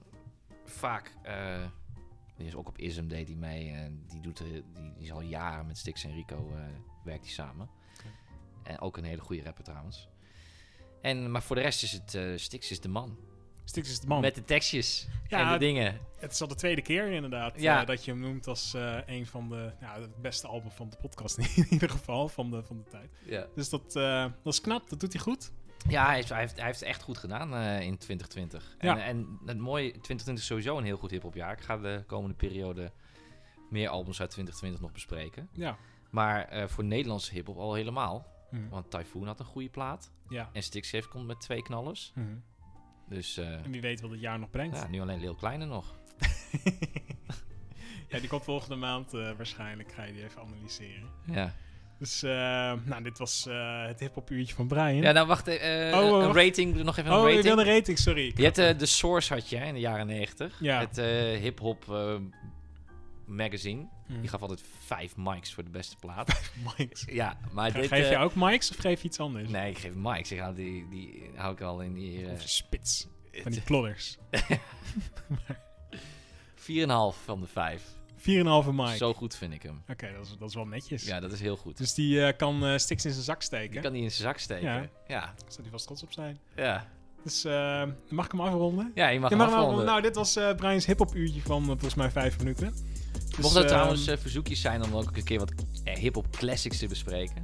B: vaak... eh, die is ook op ISM deed hij mee. En die, doet, eh, die, die is al jaren met Stix en Rico eh, werkt hij samen.
A: Oké.
B: En ook een hele goede rapper trouwens. En, maar voor de rest is het eh Stix is de man.
A: Stix is de man.
B: Met de tekstjes en
A: ja,
B: de dingen.
A: het is al de tweede keer inderdaad
B: Ja.
A: eh, dat je hem noemt als eh, een van de... Nou, het beste album van de podcast *laughs* in ieder geval, van de, van de tijd.
B: Ja,
A: Dus dat, eh, dat is knap, dat doet hij goed.
B: ja hij, heeft, hij, heeft, hij heeft het echt goed gedaan eh, in 2020.
A: Ja.
B: En, eh, en het mooie, 2020 is sowieso een heel goed hip jaar. Ik ga de komende periode meer albums uit 2020 nog bespreken.
A: Ja.
B: Maar eh, voor Nederlandse hip-hop al helemaal.
A: Hm.
B: Want Typhoon had een goede plaat.
A: Ja.
B: En Stix heeft komt met twee knallers.
A: Hm.
B: Dus eh,
A: En wie weet wat het jaar nog brengt.
B: ja,
A: Ja,
B: nu alleen Leel Kleine nog.
A: die komt volgende maand eh, waarschijnlijk. Ga je die even analyseren.
B: Ja,
A: Dus eh, nou, dit was eh, het hip-hop uurtje van Brian.
B: ja nou wacht. eh, eh,
A: Oh, eh,
B: een
A: wacht.
B: rating. Nog even
A: oh,
B: een
A: ik wil
B: rating.
A: een rating, sorry. Ik
B: Je hebt eh, de Source had je hè, in de jaren 90.
A: Ja.
B: Het eh, hip-hop eh, magazine.
A: Hm.
B: Die gaf altijd vijf mics voor de beste plaat.
A: Mics.
B: ja, maar
A: Ge-
B: dit...
A: geef
B: eh,
A: je ook mics of geef je iets anders?
B: Nee, ik geef mics. Ik hou die, die hou ik al in die... eh,
A: Of spits. Van die plodders.
B: 4,5 van de 5.
A: 4,5 mic. Oké,
B: Zo goed vind ik hem.
A: dat, is, dat is wel netjes.
B: Ja, dat is heel goed.
A: Dus die eh, kan eh sticks in zijn zak steken.
B: Die kan die in zijn zak steken.
A: Ja.
B: Ja. Ja.
A: Daar zou hij vast trots op zijn.
B: ja.
A: Dus eh, mag ik hem afronden?
B: je mag
A: Ja,
B: hem
A: maar nou,
B: afronden.
A: nou, dit was eh Brian's hip-hop uurtje van eh, volgens mij vijf minuten. Dus,
B: Mocht er
A: eh,
B: trouwens eh, verzoekjes zijn om ook een keer wat eh, hip-hop classics te bespreken.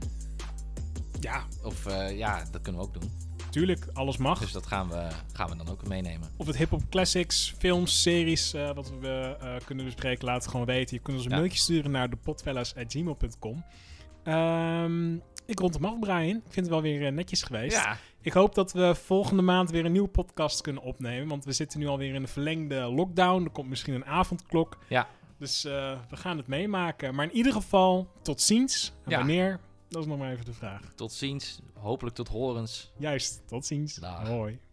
A: ja,
B: Of eh, ja, dat kunnen we ook doen.
A: tuurlijk, alles mag.
B: Dus dat gaan we, gaan we dan ook meenemen.
A: Of het hip-hop classics, films, series, eh, wat we eh, kunnen bespreken, laat het gewoon weten. Je kunt ons een
B: Ja.
A: mailtje sturen naar depotfellas.gmail.com. Ehm, ik rond hem af, Brian. Ik vind het wel weer eh, netjes geweest.
B: Ja,
A: Ik hoop dat we volgende maand weer een nieuwe podcast kunnen opnemen. Want we zitten nu alweer in een verlengde lockdown. Er komt misschien een avondklok.
B: Ja.
A: Dus eh, we gaan het meemaken. Maar in ieder geval, tot ziens. En
B: Ja.
A: wanneer? Dat is nog maar even de vraag.
B: tot ziens. Hopelijk tot horens.
A: Juist, tot ziens.
B: Dag.
A: Hoi.